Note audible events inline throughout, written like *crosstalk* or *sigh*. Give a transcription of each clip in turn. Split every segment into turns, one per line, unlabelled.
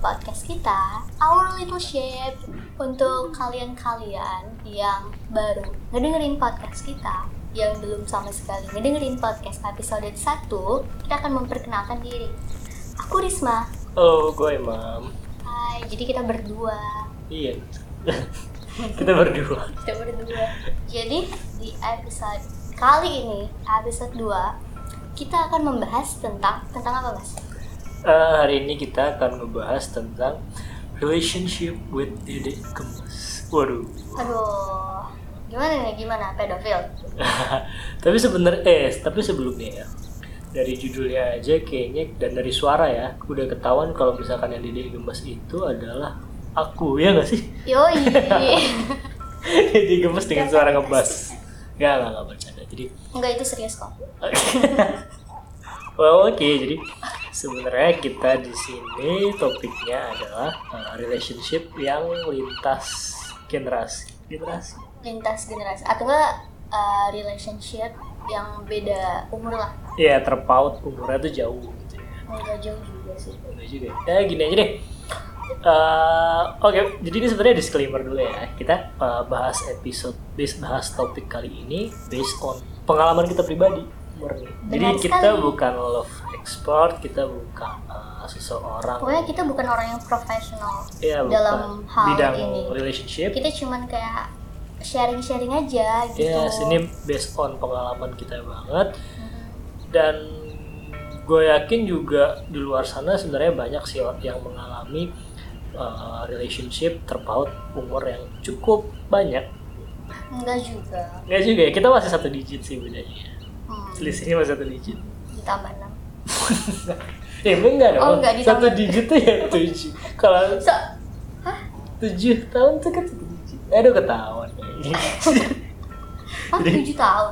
podcast kita Our Little Ship untuk kalian-kalian yang baru ngedengerin podcast kita yang belum sama sekali ngedengerin podcast episode 1 kita akan memperkenalkan diri aku Risma
Halo, gue Oh, Imam.
Hai, jadi kita berdua
Iya. *laughs* Kita berdua.
kita berdua jadi di episode kali ini episode 2 kita akan membahas tentang tentang apa mas?
Eh, hari ini kita akan ngebahas tentang relationship with Dede Kemas. Waduh. *laughs*
Aduh, gimana nih gimana pedofil?
tapi sebenernya, eh, tapi sebelumnya ya, dari judulnya aja kayaknya dan dari suara ya, udah ketahuan kalau misalkan yang Dede Gemes itu adalah aku ya nggak sih? *laughs*
Yoi.
Dede Gemes dengan suara ngebas. Gak, gak, gak bercanda. Jadi
Enggak itu serius kok.
Well, oke. Jadi sebenarnya kita di sini topiknya adalah uh, relationship yang lintas generasi. Generasi.
Lintas generasi atau enggak uh, relationship yang beda umur lah.
Ya, terpaut umurnya tuh jauh gitu ya.
Enggak jauh juga sih.
Bener juga. Ya, gini aja deh. Eh, Oke, jadi ini sebenarnya disclaimer dulu ya. Kita eh, bahas episode, bis- bahas topik kali ini based on pengalaman kita pribadi. murni. Jadi
Benar
kita
sekali.
bukan love expert, kita bukan eh, seseorang.
Pokoknya kita bukan orang yang profesional
ya, bukan.
dalam hal
bidang
ini.
relationship.
Kita cuman kayak sharing-sharing aja gitu.
Ya, sini based on pengalaman kita banget
Mhm.
dan gue yakin juga di luar sana sebenarnya banyak sih orang yang mengalami uh, relationship terpaut umur yang cukup banyak
Enggak juga.
nggak juga ya kita masih satu digit sih bedanya
Hmm,
selisihnya masih satu digit
ditambah 6.
ya enggak dong
Oh, enggak, ditambah.
satu digit tuh ya tujuh kalau
So,
tujuh tahun tuh kan satu digit aduh ketahuan *laughs*
ah, 7 tahun.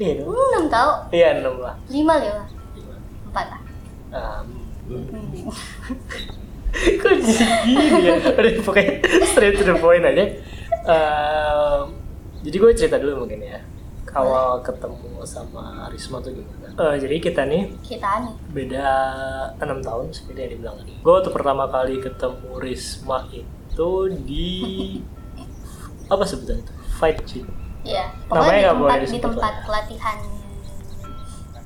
iya dong
Hmm, 6 tahun.
iya enam lah
5 ya. 4 lah.
Um,
Hmm.
*laughs* Kok jadi gini ya? Udah pokoknya straight to the point aja. Ehm, jadi gue cerita dulu mungkin ya. Awal ketemu sama Risma tuh gimana? Eh, jadi kita nih
Kita nih.
beda enam tahun seperti yang dibilang tadi. Gue tuh pertama kali ketemu Risma itu di apa sebutan itu? Fight Gym.
Iya.
Namanya
Pokoknya di
nggak boleh
tempat, di
disebut
tempat
lah.
pelatihan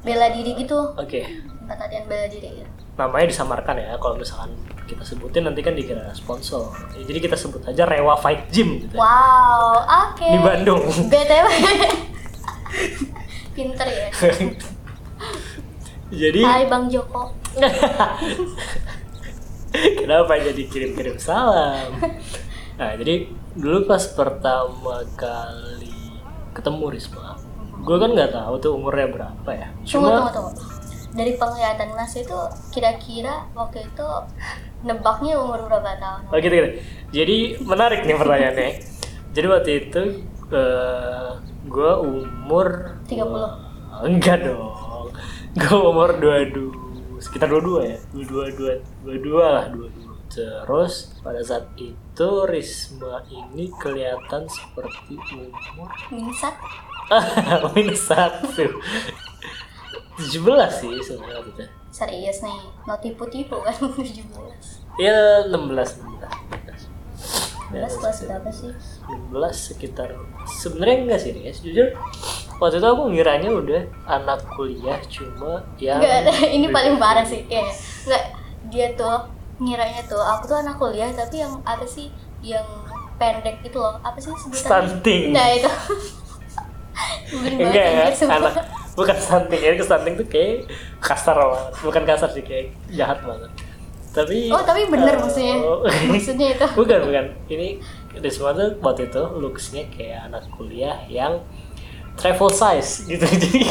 bela diri gitu.
Oke,
Tempat latihan bela diri.
namanya disamarkan ya. Kalau misalkan kita sebutin nanti kan dikira sponsor. Ya, jadi kita sebut aja Rewa Fight Gym gitu. ya.
Wow, oke.
Di Bandung. *laughs*
BTW. *laughs* Pinter ya.
Jadi
Hai Bang Joko.
Kenapa jadi kirim-kirim salam? Nah, jadi dulu pas pertama kali ketemu Risma, gue kan nggak tahu tuh umurnya berapa ya.
Tunggu, tunggu, tunggu. Dari penglihatan Mas itu kira-kira waktu itu nebaknya umur berapa tahun?
Oh, gitu, gitu. Jadi menarik nih pertanyaannya. jadi waktu itu gue umur
30.
Wah, enggak dong. Gue umur 22 sekitar 22 ya. 22 22 lah 22. Terus pada saat itu Risma ini kelihatan seperti umur *laughs*
Mingsat?
minus satu. 17 sih sebenarnya waktu itu.
Serius nih, mau tipu-tipu kan *laughs* 17 11
Ya 16 16.
kelas berapa sih?
16 sekitar sebenarnya enggak sih guys jujur waktu itu aku ngiranya udah anak kuliah cuma ya
Enggak, ada. *laughs* ini paling parah sih kayaknya. Enggak, dia tuh ngiranya tuh aku tuh anak kuliah tapi yang apa sih yang pendek itu loh. Apa sih sebutannya?
Stunting.
Nah, itu. Bener banget
*laughs* enggak ya
anjir, sumpah.
anak bukan stunting ya stunting tuh kayak kasar banget bukan kasar sih kayak jahat banget tapi
Oh, tapi bener
eh,
maksudnya. Maksudnya itu.
*laughs* bukan bukan ini Risma tuh waktu itu looksnya kayak anak kuliah yang travel size gitu *laughs* jadi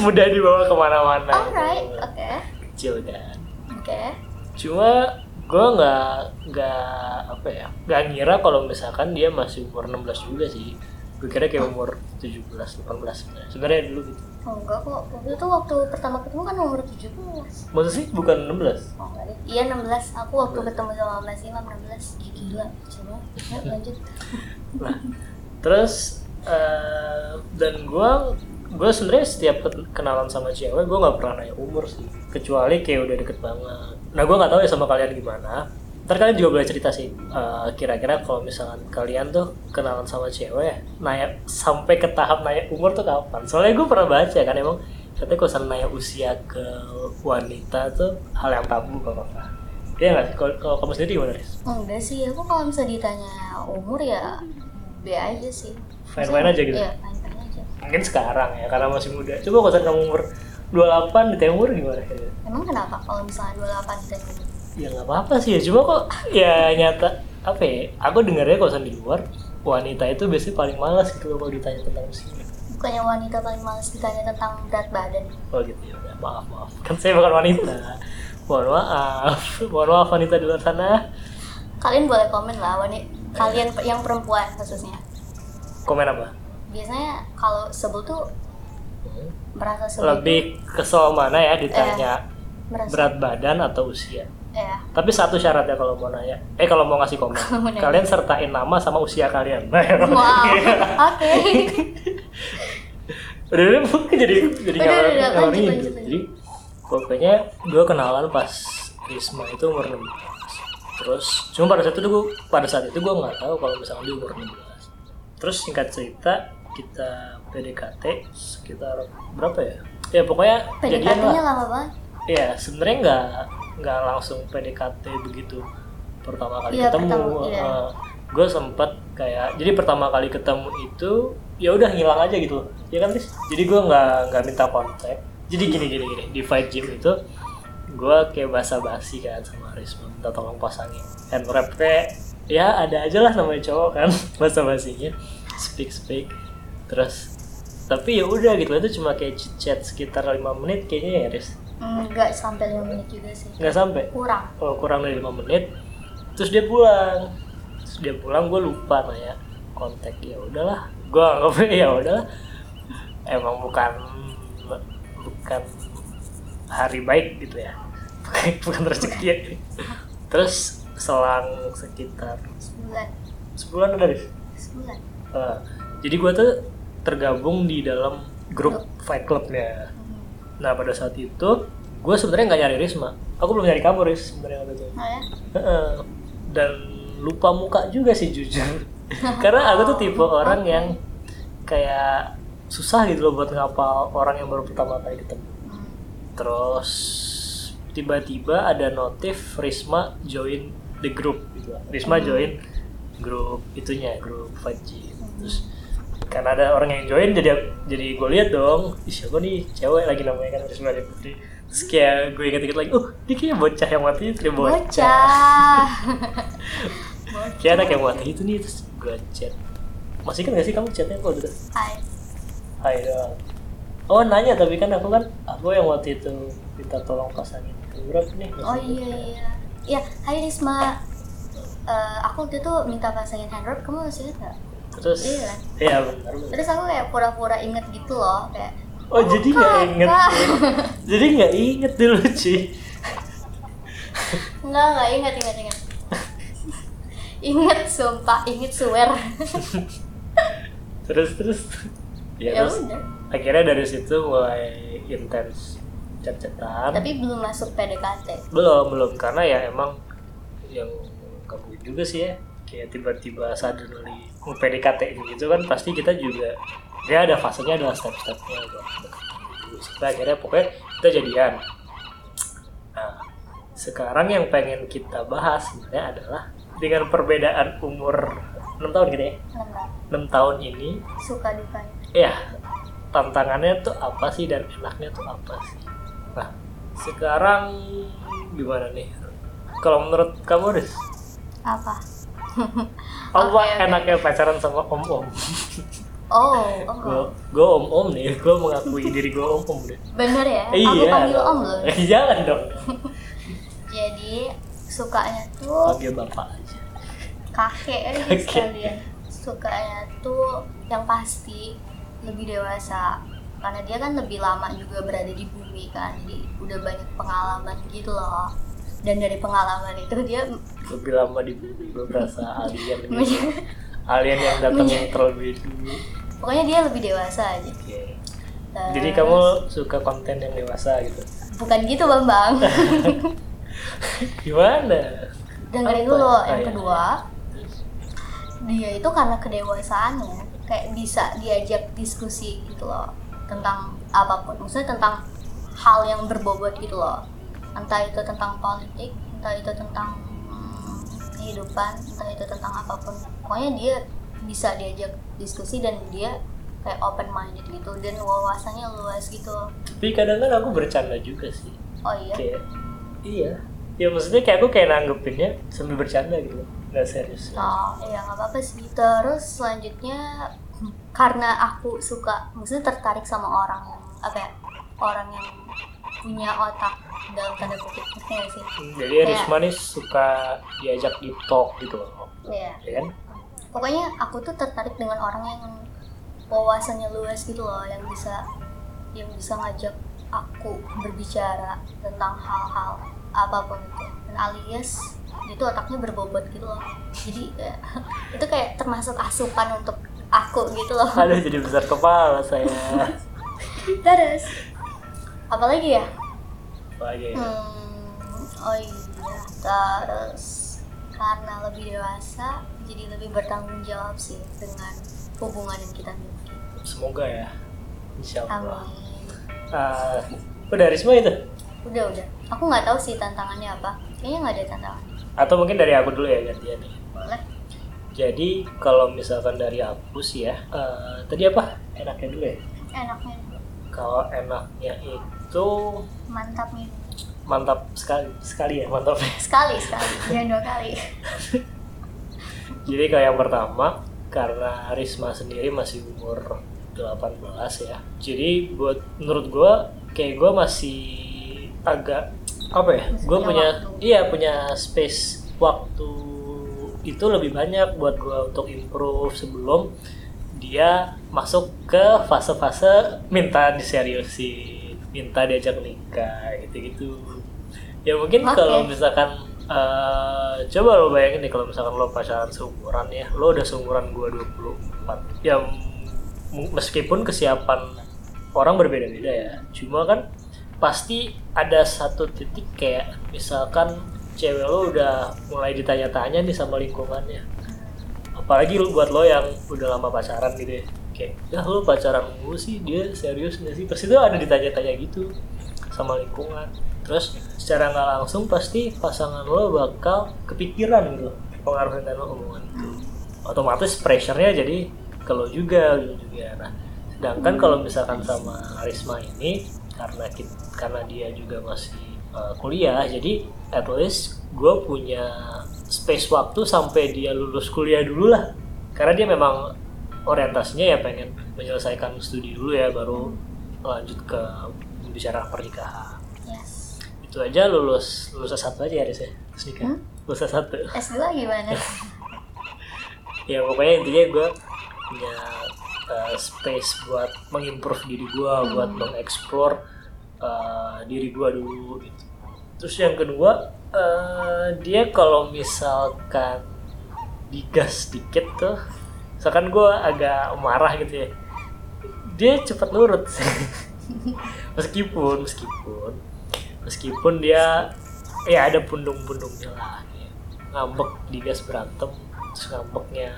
mudah dibawa kemana-mana
Alright, oke.
kecil kan
Oke.
cuma gue nggak nggak apa ya nggak ngira kalau misalkan dia masih umur 16 juga sih gue kira kayak umur 17 18 sebenarnya sebenarnya dulu gitu
Oh, enggak kok. Waktu itu waktu pertama ketemu kan umur 17.
maksud sih bukan 16
Oh, enggak deh. Iya 16. Aku waktu ketemu sama Mas Imam 16. Ih, Gila, coba. Ya, lanjut.
nah terus eh, dan gue gue sebenarnya setiap ket- kenalan sama cewek gue nggak pernah nanya umur sih kecuali kayak udah deket banget nah gue nggak tahu ya sama kalian gimana ntar kalian juga boleh cerita sih eh, kira-kira kalau misalkan kalian tuh kenalan sama cewek naik sampai ke tahap naik umur tuh kapan soalnya gue pernah baca kan emang katanya kalau sampai naik usia ke wanita tuh hal yang tabu kalau apa Iya nggak sih? Kalau kalau kamu sendiri gimana, Riz?
Enggak sih, aku kalau misalnya ditanya umur ya B aja sih.
Fine-fine aja gitu?
Iya, fine-fine aja.
Mungkin sekarang ya, karena masih muda. Coba kalau misalkan kamu umur 28 ditanya umur gimana?
Emang kenapa kalau misalnya 28 dan
ya nggak apa-apa sih ya cuma kok ya nyata apa ya aku dengarnya kalau misalnya di luar wanita itu biasanya paling malas gitu loh kalau ditanya tentang usia
bukannya wanita paling males ditanya tentang berat badan?
oh gitu ya udah maaf maaf kan saya bukan wanita mohon maaf mohon maaf wanita di luar sana
Kalian boleh komen lah,
Iya.
wanita kalian pe- yang perempuan khususnya.
komen apa
Biasanya kalau sebel tuh Hmm. merasa sebel.
lebih kesel mana ya ditanya
merasa,
berat badan atau usia
Ya,
tapi satu syaratnya kalau mau nanya eh kalau mau ngasih komen
Kalau mau nanya.
kalian sertain nama sama usia kalian *laughs*
Wow, oke.
udah udah *laughs* mungkin jadi jadi
Udah,
ngalor-
udah,
ngalor
lanjut, lanjut,
ngidul.
lanjut.
Iya, jadi pokoknya gue kenalan pas Risma itu umur 16 terus cuma pada saat itu gue pada saat itu gue nggak tahu kalau misalkan dia umur 16 terus singkat cerita kita PDKT sekitar berapa ya ya pokoknya jadian lah
PDKT-nya lama banget.
ya sebenarnya nggak nggak langsung PDKT begitu pertama kali
Iya,
ketemu
pertama, iya.
gue sempet kayak jadi pertama kali ketemu itu ya udah ngilang aja gitu loh. ya kan Riz? jadi gue nggak nggak minta kontak jadi gini gini gini di fight gym itu gue kayak basa-basi kan sama Risma minta tolong pasangin hand wrap kayak ya ada aja lah namanya cowok kan *laughs* basa-basinya speak speak terus tapi ya udah gitu itu cuma kayak chat sekitar lima menit kayaknya ya Riz
Enggak sampai 5 menit juga sih.
nggak sampai
Kurang.
kalau kurang dari lima menit terus dia pulang terus dia pulang gue lupa nanya kontak ya udahlah gue anggap *laughs* ya udahlah emang bukan bukan hari baik gitu ya *laughs* bukan, bukan rezeki ya. terus selang sekitar
Sebulan.
sebulan udah deh
Sebulan.
Eh, jadi gue tuh tergabung di dalam grup fight clubnya
Hmm.
nah pada saat itu gue sebenarnya nggak nyari Risma aku belum nyari kamu Riz sebenarnya waktu itu
Oh ya?
Heeh. dan lupa muka juga sih jujur karena aku tuh tipe orang yang kayak susah gitu loh buat ngapal orang yang baru pertama kali ketemu
Hmm.
terus tiba-tiba ada notif Risma join the group gitu lah. Risma join grup itunya grup Fajin terus karena ada orang yang join jadi jadi gue lihat dong "Ih, siapa nih cewek lagi namanya kan Risma Dewi Putri terus kayak gue inget-inget lagi oh dia kayaknya bocah yang mati itu dia
Bocah.
*laughs* kayak anak yang mati itu nih terus gue chat masih kan gak sih kamu chatnya kalau udah
Hai.
Hai doang. Oh nanya tapi kan aku kan aku yang waktu itu minta tolong pasangin ke berapa nih?
Oh iya iya. Ya, hai Risma. Eh, aku waktu itu minta pasangin hand wrap, kamu masih ingat nggak?
Terus
Iya.
iya benar benar.
Terus aku kayak pura-pura inget gitu loh, kayak
Oh, jadi nggak
Kakak.
inget, jadi nggak inget dulu cuy.
Enggak, enggak ingat, ingat,
*laughs*
ingat. ingat sumpah, ingat swear.
Terus terus. Ya,
ya
terus
udah.
akhirnya dari situ mulai intens chat-chatan.
Tapi belum masuk PDKT.
Belum belum karena ya emang yang kamu juga sih ya kayak tiba-tiba suddenly PDKT gitu kan pasti kita juga ya ada fasenya ada step-stepnya gitu. Sampai akhirnya pokoknya kita jadian nah sekarang yang pengen kita bahas sebenarnya adalah dengan perbedaan umur 6 tahun gitu ya
Enggak.
6 tahun ini
Suka dukanya.
ya tantangannya tuh apa sih dan enaknya tuh apa sih nah sekarang gimana nih kalau menurut kamu Riz
Apa?
apa
Oke, oke.
enaknya pacaran sama om om
Oh,
gue
enggak.
gue om om nih gue mengakui diri gue om om deh
Bener ya? Aku panggil om
*laughs*
loh.
Iya Eh, jangan dong
Jadi sukanya tuh
panggil bapak aja
kakek aja
Kakek.
sekalian. Sukanya tuh yang pasti lebih dewasa. Karena dia kan lebih lama juga berada di bumi kan. Jadi udah banyak pengalaman gitu loh. Dan dari pengalaman itu dia
lebih lama di bumi gue berasa alien gitu.
menye-
alien yang datang
Menye-
terlebih dulu
Iya. pokoknya dia lebih dewasa aja.
Oke.
Eh, Terus-
jadi kamu suka konten yang dewasa gitu *laughs*
bukan gitu Bambang.
gimana
dengerin
Apa
dulu
ya? Ah,
yang
iya.
kedua
Terus,
dia itu karena kedewasaannya kayak bisa diajak diskusi gitu loh tentang apapun maksudnya tentang hal yang berbobot gitu loh entah itu tentang politik entah itu tentang mm, kehidupan entah itu tentang apapun pokoknya dia bisa diajak diskusi dan dia kayak open minded gitu dan wawasannya luas gitu
tapi kadang kan aku bercanda juga sih
oh iya
kayak iya ya maksudnya kayak aku kayak nanggepinnya sambil bercanda gitu nggak serius
Oh, iya nggak apa-apa sih. Terus selanjutnya karena aku suka, maksudnya tertarik sama orang yang apa ya, orang yang punya otak dalam tanda kutip ngerti nggak sih?
jadi
Kayak-
Risma nih suka diajak di talk gitu loh
Iya.
ya kan
Pokoknya aku tuh tertarik dengan orang yang wawasannya luas gitu loh, yang bisa yang bisa ngajak aku berbicara tentang hal-hal apapun itu. Dan alias itu otaknya berbobot gitu loh. Jadi eh, *laughs* itu kayak termasuk asupan untuk aku gitu loh.
aduh jadi besar kepala saya
Terus apalagi ya?
lagi
Hmm, oh iya, terus karena lebih dewasa jadi lebih bertanggung jawab sih dengan hubungan yang kita miliki.
semoga ya insya Allah
Amin.
Ah, udah Risma itu
Udah udah, aku nggak tahu sih tantangannya apa. Kayaknya nggak ada tantangan.
atau mungkin dari aku dulu ya gantian nih
Boleh.
jadi kalau misalkan dari aku sih ya eh, tadi apa enaknya dulu ya
Enaknya dulu.
kalau enaknya itu
mantapnya dulu.
mantap sekali sekali ya mantap *laughs*
sekali sekali jangan Iya, dua kali.
Jadi kayak yang pertama karena Risma sendiri masih umur 18 ya. Jadi buat menurut gua kayak gua masih agak apa ya?
Masih
Gua
punya
punya
waktu.
iya punya space waktu itu lebih banyak buat gua untuk improve sebelum dia masuk ke fase-fase minta diseriusin, minta diajak nikah gitu-gitu. Ya mungkin
Oke.
kalau misalkan eh, coba lo bayangin nih kalau misalkan lo pacaran seumuran ya lo udah seumuran gua 24 ya m- meskipun kesiapan orang berbeda-beda ya cuma kan pasti ada satu titik kayak misalkan cewek lo udah mulai ditanya-tanya nih sama lingkungannya apalagi lu buat lo yang udah lama pacaran gitu ya kayak ya lo pacaran gue sih dia serius nggak sih pasti tuh ada ditanya-tanya gitu sama lingkungan terus secara nggak langsung pasti pasangan lo bakal kepikiran gitu pengaruh dengan omongan itu otomatis pressure-nya jadi ke lo juga ujung-ujungnya nah sedangkan kalau misalkan sama Risma ini karena kita, karena dia juga masih uh, kuliah jadi at least gue punya space waktu sampai dia lulus kuliah dulu lah karena dia memang orientasinya ya pengen menyelesaikan studi dulu ya baru lanjut ke bicara pernikahan
Yes.
itu aja lulus lulus satu aja ya Riz ya terus nikah
Hmm?
lulus satu
S2 *laughs* gimana?
ya pokoknya intinya gue punya uh, space buat mengimprove diri gue buat mengeksplor uh, diri gue dulu gitu terus yang kedua uh, dia kalau misalkan digas dikit tuh misalkan gue agak marah gitu ya dia cepat nurut *laughs* meskipun meskipun meskipun dia ya ada pundung-pundungnya lah ya. ngambek digas berantem terus ngambeknya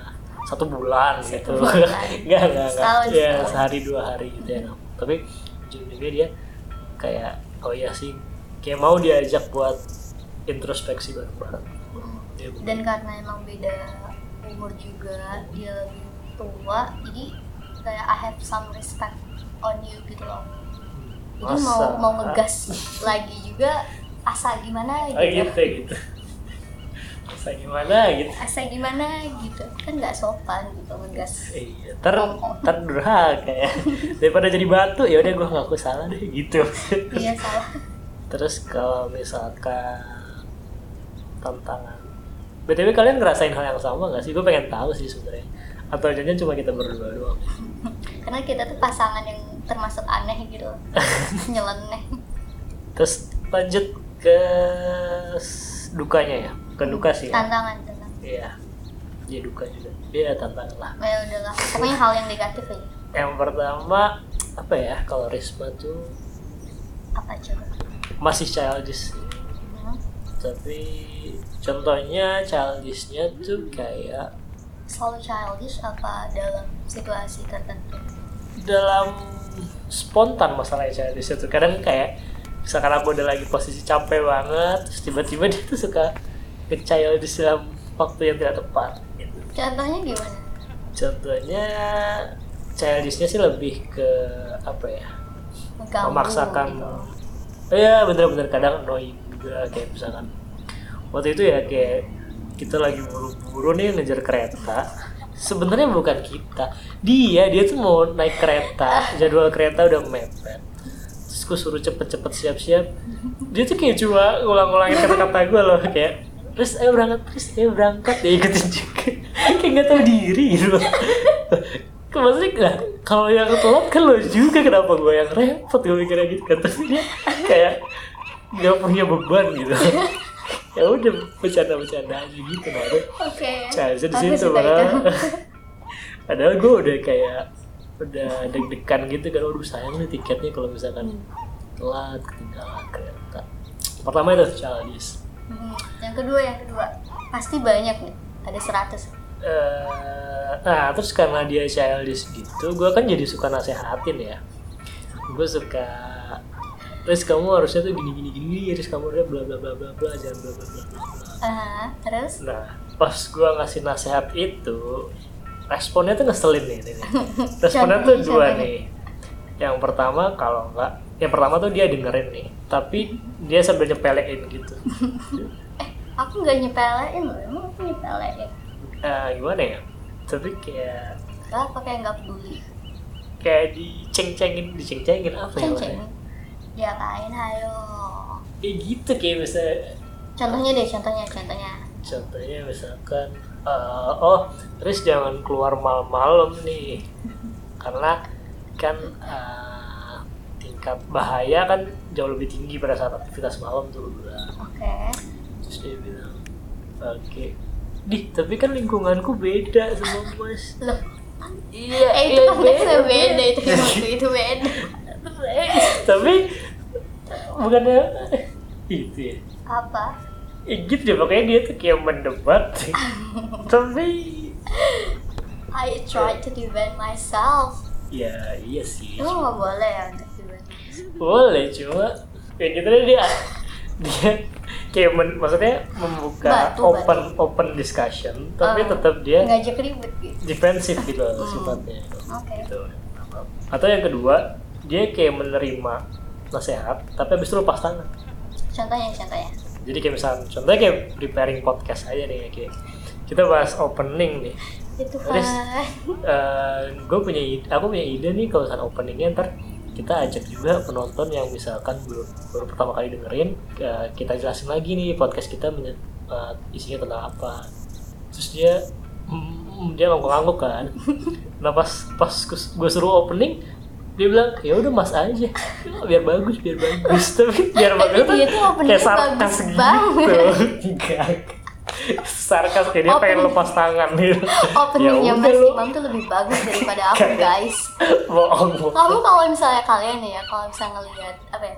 satu bulan gitu
bulan.
*laughs* nggak nggak nggak
Setahun,
ya
setahun.
sehari dua hari gitu ya ngambek. tapi ujung-ujungnya dia kayak oh ya sih kayak mau diajak buat introspeksi bareng-bareng Ya,
dan karena emang beda umur juga dia lebih tua jadi kayak I have some respect on you gitu loh jadi mau
masa?
mau ngegas lagi juga asa gimana
Ah,
gitu
gitu gitu masa gimana gitu
asa gimana gitu kan nggak sopan gitu ngegas
Iya, ter ter durhaka ya. Daripada jadi batu ya udah gue ngaku salah deh gitu.
iya salah
Terus kalau misalkan tantangan, btw kalian ngerasain hal yang sama nggak sih? Gue pengen tahu sih sebenarnya. Atau jangan cuma kita berdua doang?
karena kita tuh pasangan yang termasuk aneh gitu
*laughs*
loh. nyeleneh
Terus lanjut ke s- dukanya ya, ke duka sih. Ya.
tantangan tantangan
Iya, ya duka juga. Iya tantangan lah.
ya udahlah pokoknya hal yang negatif aja
Yang pertama apa ya kalau Risma tuh
apa coba
masih childish.
Hmm.
tapi contohnya childish-nya tuh kayak
Selalu childish apa dalam situasi tertentu?
dalam spontan masalahnya childish itu kadang kayak misalkan aku udah lagi posisi capek banget terus tiba-tiba *laughs* dia tuh suka ke childish dalam waktu yang tidak tepat gitu.
Contohnya gimana?
contohnya childishnya sih lebih ke apa ya
Mengganggu
memaksakan
gitu.
Oh iya bener-bener kadang annoying juga kayak misalkan waktu itu ya kayak kita lagi buru-buru nih ngejar kereta sebenarnya bukan kita dia dia tuh mau naik kereta jadwal kereta udah mepet terus gue suruh cepet-cepet siap-siap dia tuh kayak cuma ulang-ulangin kata-kata gue loh kayak terus ayo berangkat terus ayo berangkat dia ikutin juga *laughs* kayak nggak tahu diri gitu Maksudnya nah, kalau yang telat kan lo juga kenapa gue yang repot gue mikirnya gitu kan tapi dia kayak nggak punya beban gitu ya udah bercanda-bercanda aja gitu nah ada
Oke.
challenge di
Aku
situ
suka
padahal
itu.
*laughs* padahal gue udah kayak udah deg-degan gitu kan aduh sayang nih tiketnya kalau misalkan telat ketinggalan kereta pertama itu childish
Hmm, Yang kedua, yang kedua. Pasti banyak nih. Ada 100.
eh nah terus karena dia childish gitu gue kan jadi suka nasehatin ya gue suka terus kamu harusnya tuh gini gini gini terus kamu udah bla bla bla bla bla jangan bla bla bla bla bla."
Aha, terus?
nah pas gue ngasih nasehat itu responnya tuh ngeselin nih, nih, nih. responnya
Contohnya,
tuh dua
contohnya.
nih yang pertama kalau enggak yang pertama tuh dia dengerin nih tapi dia sambil nyepelein gitu
Aku nggak nyepelein loh. Emang aku nyepelein?
Eh, gimana ya tapi kayak
Gak apa kayak nggak peduli.
kayak diceng-cengin diceng-cengin apa ya
Ceng-ceng.
namanya?
Ya kain, hayo.
kayak gitu kayak misalnya
Contohnya deh, contohnya, contohnya.
contohnya misalkan eh, oh terus jangan keluar malam-malam nih karena kan eh, tingkat bahaya kan jauh lebih tinggi pada saat aktivitas malam tuh udah.
Oke.
terus dia bilang oke Dih, tapi kan lingkunganku beda sama mas
Loh,
Iya,
eh itu konteksnya beda, itu
*laughs*
itu, itu beda.
tapi bukannya eh, itu ya
Apa?
Ya gitu deh, makanya dia tuh kayak
*laughs*
mendebat Tapi
I tried to defend myself.
Ya iya sih
Itu nggak boleh ya untuk defend.
Boleh cuma Ya gitu deh dia Dia kayak men- maksudnya membuka
Batu,
open open discussion tapi
Ah,
tetap dia
ngajak ribut gitu.
defensif gitu loh
Hmm.
sifatnya
Oke.
gitu. atau yang kedua dia kayak menerima nasihat tapi habis itu lepas tangan
Contohnya, contohnya.
jadi kayak misalnya contohnya kayak preparing podcast aja nih kayak kita bahas opening nih
Itu kan.
Terus? gue Eh, punya ide, aku punya ide nih kalau misalkan openingnya ntar kita ajak juga penonton yang misalkan baru, baru pertama kali dengerin eh, kita jelasin lagi nih podcast kita menye- eh, isinya tentang apa terus dia mm, dia ngangguk-ngangguk
*laughs*
kan nah pas pas gue suruh opening dia bilang ya udah mas aja *laughs* biar bagus biar bagus *laughs* tapi biar bagus
Tapi dia tuh Iya, openingnya
kan kayak sarkas
bagus
*laughs* gitu
banget.
enggak *laughs* sarkas kayak dia pengen
Opening-
lepas tangan gitu
*laughs* Openingnya
Ya udah
Mas
lu.
Imam tuh lebih bagus daripada aku, guys.
*laughs* bohong bohong.
Kamu kalau misalnya kalian ya, kalau misalnya ngelihat apa ya,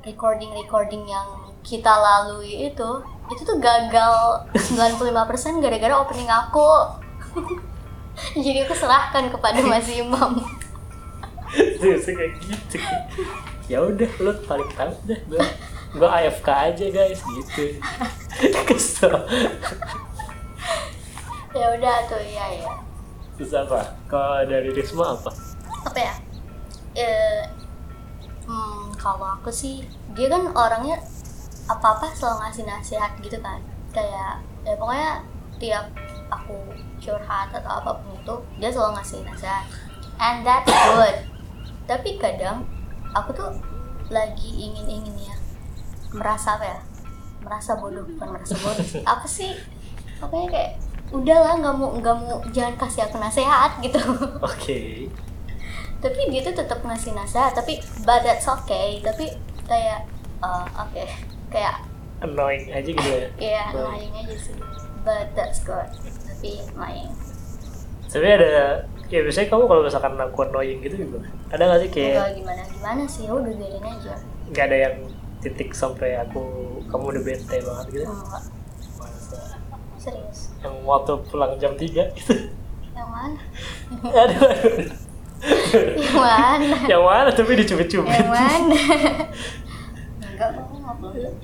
recording-recording yang kita lalui itu, itu tuh gagal 95% gara-gara opening aku. *laughs* Jadi aku serahkan kepada Mas Imam.
Terus kayak gitu ya udah lu paling tahu dah gua gua AFK aja guys gitu *laughs* kesel
Ya udah tuh, iya ya.
terus apa kalau dari Risma apa
apa ya Eh, hmm, kalau aku sih dia kan orangnya apa apa selalu ngasih nasihat gitu kan kayak ya pokoknya tiap aku curhat atau apapun itu dia selalu ngasih nasihat and that's good tapi kadang aku tuh lagi ingin inginnya merasa apa ya merasa bodoh bukan merasa bodoh sih apa sih pokoknya kayak udahlah nggak mau nggak mau jangan kasih aku nasihat gitu
oke
tapi dia tuh tetap ngasih nasihat tapi but that's okay tapi kayak uh, oke kayak
annoying aja gitu ya
ya
Baik.
lying aja sih but that's good tapi lying
tapi ada ya biasanya kamu kalau misalkan aku annoying gitu gimana ada nggak sih kayak
Enggak gimana gimana sih ya udah biarin aja
nggak ada yang titik sampai aku kamu udah bete banget gitu
Enggak. Serius.
yang waktu pulang jam 3 gitu
Yang mana?
*laughs*
*laughs*
aduh, aduh.
Yang mana?
yang mana tapi dicubit-cubit
Yang mana?
Enggak, aku nggak boleh.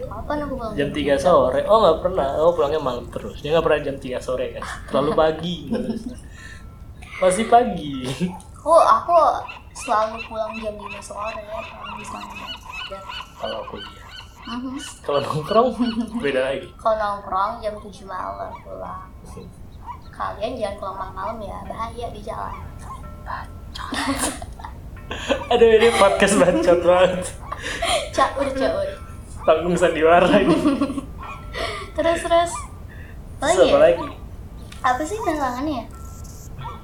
Kapan aku bangun?
jam 3 sore oh nggak pernah oh pulangnya malam terus dia nggak pernah jam 3 sore kan terlalu pagi terus. masih pagi
Aku, aku selalu pulang jam 5 sore ya, kalau misalnya. Ya.
kalau kuliah
Mhm.
kalau nongkrong beda lagi
Kalau nongkrong jam 7 malam pulang. Kalian jangan pulang malam-malam ya, bahaya di jalan.
aduh ini podcast bacot banget
Cak, udah cak, udah.
tanggung sandiwara ini
Terus, terus.
Terus apa
Lagi ya?
lagi
Apa sih tantangannya?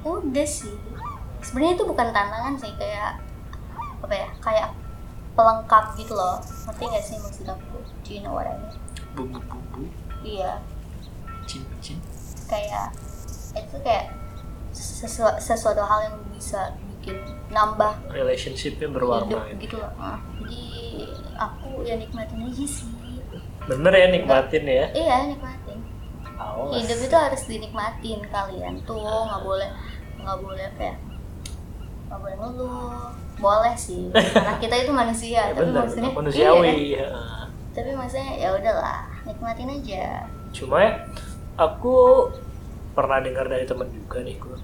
Udah sih. Sebenarnya itu bukan tantangan sih, kayak apa ya? Kayak pelengkap gitu loh. Ngerti gak sih maksud aku? Do you know what I mean?
bumbu-bumbu
Iya.
cincin
kayak itu kayak sesu- sesuatu hal yang bisa bikin nambah
relationshipnya berwarna
hidup
ini.
gitu loh Ah, jadi aku ya nikmatin aja sih
bener ya nikmatin ya
iya nikmatin
awas
hidup itu harus dinikmatin kalian tuh nggak boleh nggak boleh apa ya nggak boleh ngeluh boleh sih
*laughs*
karena kita itu manusia
ya,
tapi
bener
maksudnya
manusiawi
iya,
Heeh.
tapi maksudnya ya udahlah nikmatin aja
cuma ya, aku pernah dengar dari temen juga nih gue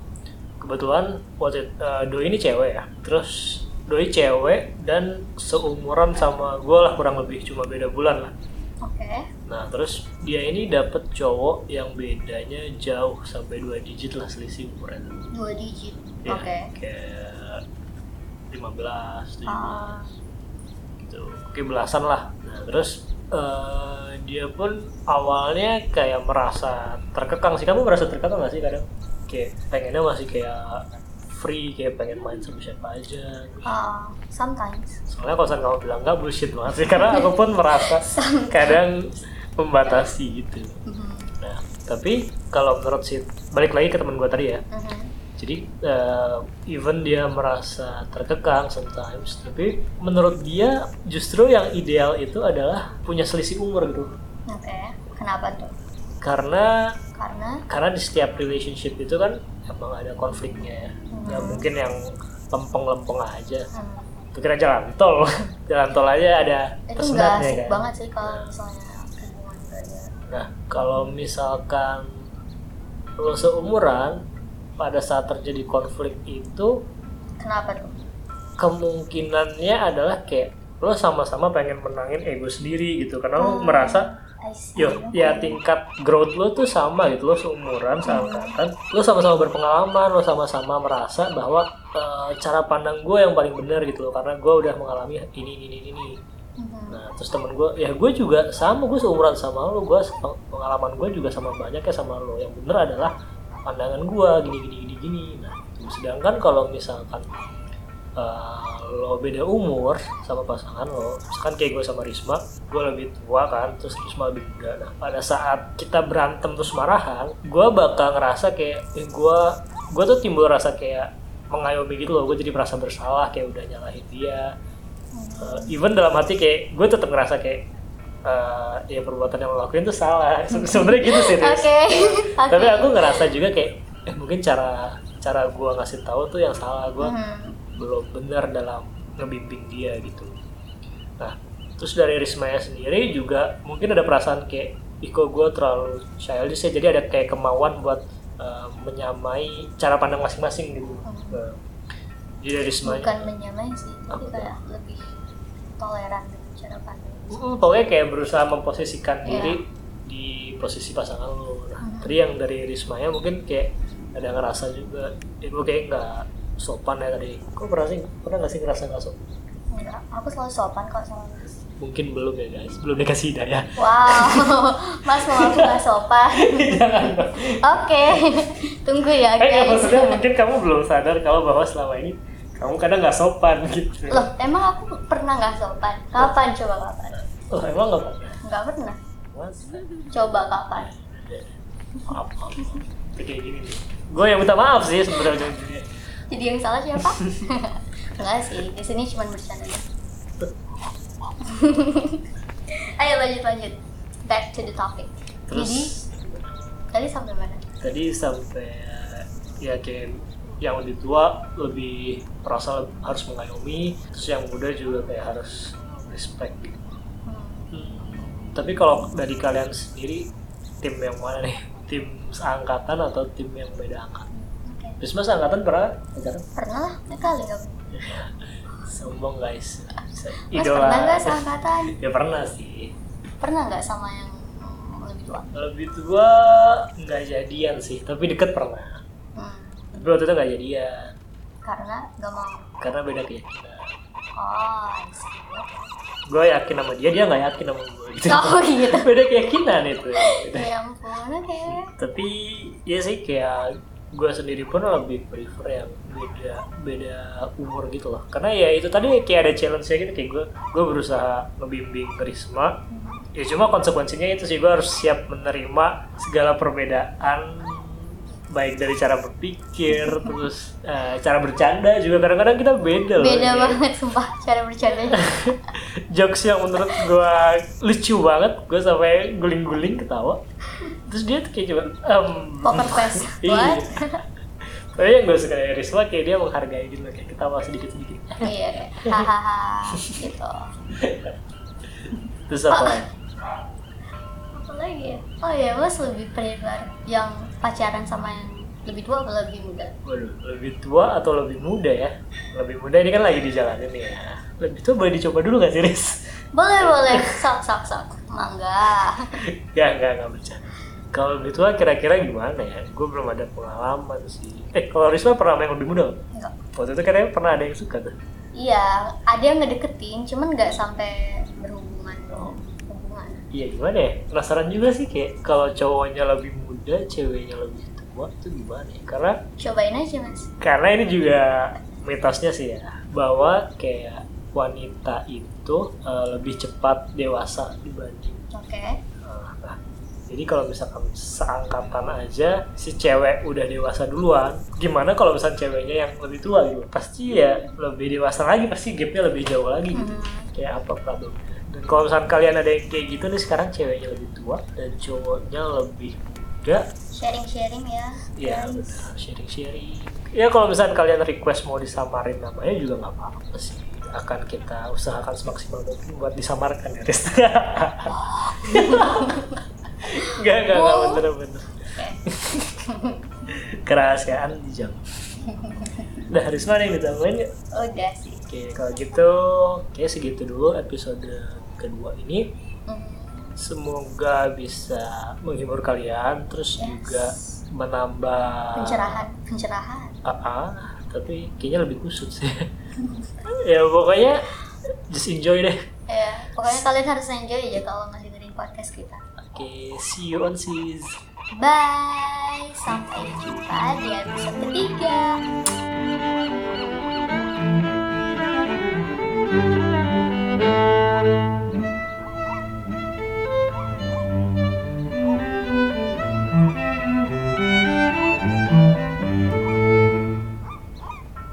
kebetulan waktu eh, doi ini cewek ya terus doi cewek dan seumuran sama gue lah kurang lebih cuma beda bulan lah
oke
nah terus dia ini dapet cowok yang bedanya jauh sampai dua digit lah selisih ukuran
dua digit
ya,
oke
kayak 15, 17
Ah.
gitu oke belasan lah nah terus eh, dia pun awalnya kayak merasa terkekang sih kamu merasa terkekang gak sih kadang kayak pengennya masih kayak free kayak pengen main sama siapa aja
Ah, sometimes
soalnya kalau misalnya kamu bilang nggak bullshit banget sih karena aku pun merasa kadang membatasi gitu
Mhm,
nah tapi kalau menurut si balik lagi ke teman gue tadi ya
mhm.
jadi uh, even dia merasa terkekang sometimes, tapi menurut dia justru yang ideal itu adalah punya selisih umur gitu.
Oke, kenapa tuh?
Karena
Karena
karena di setiap relationship itu kan emang ada konfliknya ya. Nggak mungkin yang lempeng-lempeng aja.
hmm,
Itu kira jalan tol. *laughs* jalan tol aja ada
itu nggak
tersendatnya
asik
kan.
banget sih kalau misalnya hubungan berada.
Nah, kalau misalkan lo seumuran pada saat terjadi konflik itu
Kenapa tuh?
kemungkinannya adalah kayak lo sama-sama pengen menangin ego sendiri gitu karena
Hmm.
lo merasa
I see.
yo ya tingkat growth lo tuh sama gitu lo seumuran seangkatan lo sama-sama berpengalaman lo sama-sama merasa bahwa eh, cara pandang gue yang paling benar gitu loh karena gue udah mengalami ini ini ini ini
Mhm.
nah terus temen gue ya gue juga sama gue seumuran sama lo gue se- pengalaman gue juga sama banyak ya sama lo yang bener adalah pandangan gue gini gini gini gini nah sedangkan kalau misalkan eh, lo beda umur sama pasangan lo misalkan kayak gue sama Risma gue lebih tua kan terus Risma lebih muda nah pada saat kita berantem terus marahan gue bakal ngerasa kayak eh, gue gue tuh timbul rasa kayak mengayomi gitu loh gue jadi merasa bersalah kayak udah nyalahin dia Eh, even dalam hati kayak gue tetap ngerasa kayak eh, ya perbuatan yang lo lakuin tuh salah *laughs* Se- sebenarnya gitu sih Riz.
Oke, oke.
*laughs* tapi aku ngerasa juga kayak eh, mungkin cara cara gue ngasih tahu tuh yang salah gue
Mhm.
belum benar dalam ngebimbing dia gitu. Nah, terus dari Rismaya sendiri juga mungkin ada perasaan kayak Iko gue terlalu childish ya, jadi ada kayak kemauan buat eh, menyamai cara pandang masing-masing gitu. Nah, Jadi dari Rismaya,
Hmm. Bukan menyamai sih, tapi
Apa?
kayak lebih toleran dengan cara pandang.
Mm, pokoknya kayak berusaha memposisikan
Iya.
diri di posisi pasangan lo. Nah,
Mhm.
tadi yang dari Rismaya mungkin kayak ada ngerasa juga, ya gue kayak nggak sopan ya tadi. Kok pernah sih, pernah nggak sih ngerasa nggak sopan?
Enggak, aku selalu sopan kok sama Mas.
mungkin belum ya guys belum dikasih hidayah
Wow, *laughs* Mas mau aku nggak
*laughs*
sopan? Oke, tunggu ya
eh ya,
guys.
maksudnya mungkin kamu belum sadar kalau bahwa selama ini kamu kadang nggak sopan gitu
Loh, emang aku pernah nggak sopan? Kapan coba kapan?
Loh, emang nggak pernah
Nggak pernah.
Masa?
Coba kapan?
maaf maaf Tapi kayak gini nih gue yang minta maaf sih sebenarnya
*laughs* Jadi yang salah siapa? Enggak sih, di sini cuma bercanda. *laughs* Ayo lanjut lanjut. Back to the topic.
Terus
Jadi tadi sampai mana?
tadi sampai ya kayak yang lebih tua lebih merasa leb- harus mengayomi, terus yang muda juga kayak harus respect gitu.
Hmm.
Hmm, Tapi kalau dari kalian sendiri tim yang mana nih? *laughs* Tim seangkatan atau tim yang beda angkatan?
Oke.
Bisma seangkatan pernah? Sekarang
Pernah lah, nggak kali nggak?
sombong guys.
Mas pernah nggak seangkatan?
*laughs* Ya pernah sih.
Pernah nggak sama yang mm, lebih tua?
Lebih tua nggak jadian sih, tapi deket pernah.
Hmm.
Tapi waktu itu nggak jadian
Karena nggak mau.
karena beda keyakinan.
Oh, I see.
Gue yakin sama dia, dia nggak yakin sama gue gitu.
Oh gitu.
*laughs* beda keyakinan itu.
Ya ampun, oke.
tapi ya sih kayak gue sendiri pun lebih prefer yang beda beda umur gitu loh karena ya itu tadi kayak ada challenge nya gitu kayak gue gue berusaha ngebimbing Risma ya cuma konsekuensinya itu sih gue harus siap menerima segala perbedaan baik dari cara berpikir terus eh, cara bercanda juga kadang-kadang kita beda loh
Beda
ya.
banget sumpah cara bercandanya.
jokes yang menurut gua lucu banget gua sampai guling-guling ketawa terus dia tuh kayak cuma em,
Poker
*laughs*
face.
iya
What?
tapi yang gua suka dari Risma kayak dia menghargai gitu loh, kayak ketawa sedikit-sedikit
Iya, kayak, hahaha gitu.
terus apa lagi?
Apa lagi ya? Oh ya, mas lebih prefer yang pacaran sama yang lebih tua atau lebih muda?
Waduh, lebih tua atau lebih muda ya? Lebih muda ini kan lagi di jalan ini ya. Lebih tua boleh dicoba dulu gak sih, Riz? *laughs*
Boleh, boleh. Sok, sok, sok. Mangga.
Gak, gak, gak Ya, bercanda. Kalau lebih tua kira-kira gimana ya? Gue belum ada pengalaman sih. Eh, kalau Risma pernah sama yang lebih muda? nggak?
Enggak.
Waktu itu kayaknya pernah ada yang suka tuh.
Iya, ada yang ngedeketin, cuman nggak sampai berhubungan dong. Hubungan.
Iya gimana ya? Penasaran juga sih kayak kalau cowoknya lebih muda, ceweknya lebih tua itu gimana ya? Karena
Cobain aja, Mas.
karena ini juga mitosnya sih ya bahwa kayak wanita itu eh, lebih cepat dewasa dibanding
Oke.
eh, laki. Jadi kalau misalkan seangkatan aja si cewek udah dewasa duluan, gimana kalau misalkan ceweknya yang lebih tua gitu? Pasti ya lebih dewasa lagi, pasti gapnya lebih jauh lagi gitu
Hmm.
kayak apa problem dan kalau misalkan kalian ada yang kayak gitu nih sekarang ceweknya lebih tua dan cowoknya lebih muda
Sharing-sharing ya.
ya benar sharing sharing ya kalau misalkan kalian request mau disamarin namanya juga nggak apa-apa sih akan kita usahakan semaksimal mungkin buat disamarkan ya Riz *laughs* nggak nggak nggak bener bener
Oke.
kerahasiaan dijam Nah, Risma ada yang ditambahin nggak?
Udah sih.
Oke, kalau gitu, kayak segitu dulu episode kedua ini.
Hmm.
Semoga bisa menghibur kalian, terus
Yes.
juga menambah
Pencerahan, pencerahan.
Ah, tapi kayaknya lebih khusus sih. *laughs* ya pokoknya just enjoy deh.
Ya, pokoknya kalian harus enjoy aja kalau ngedengerin podcast kita.
Oke, see you on seas.
Bye, sampai jumpa di episode ketiga.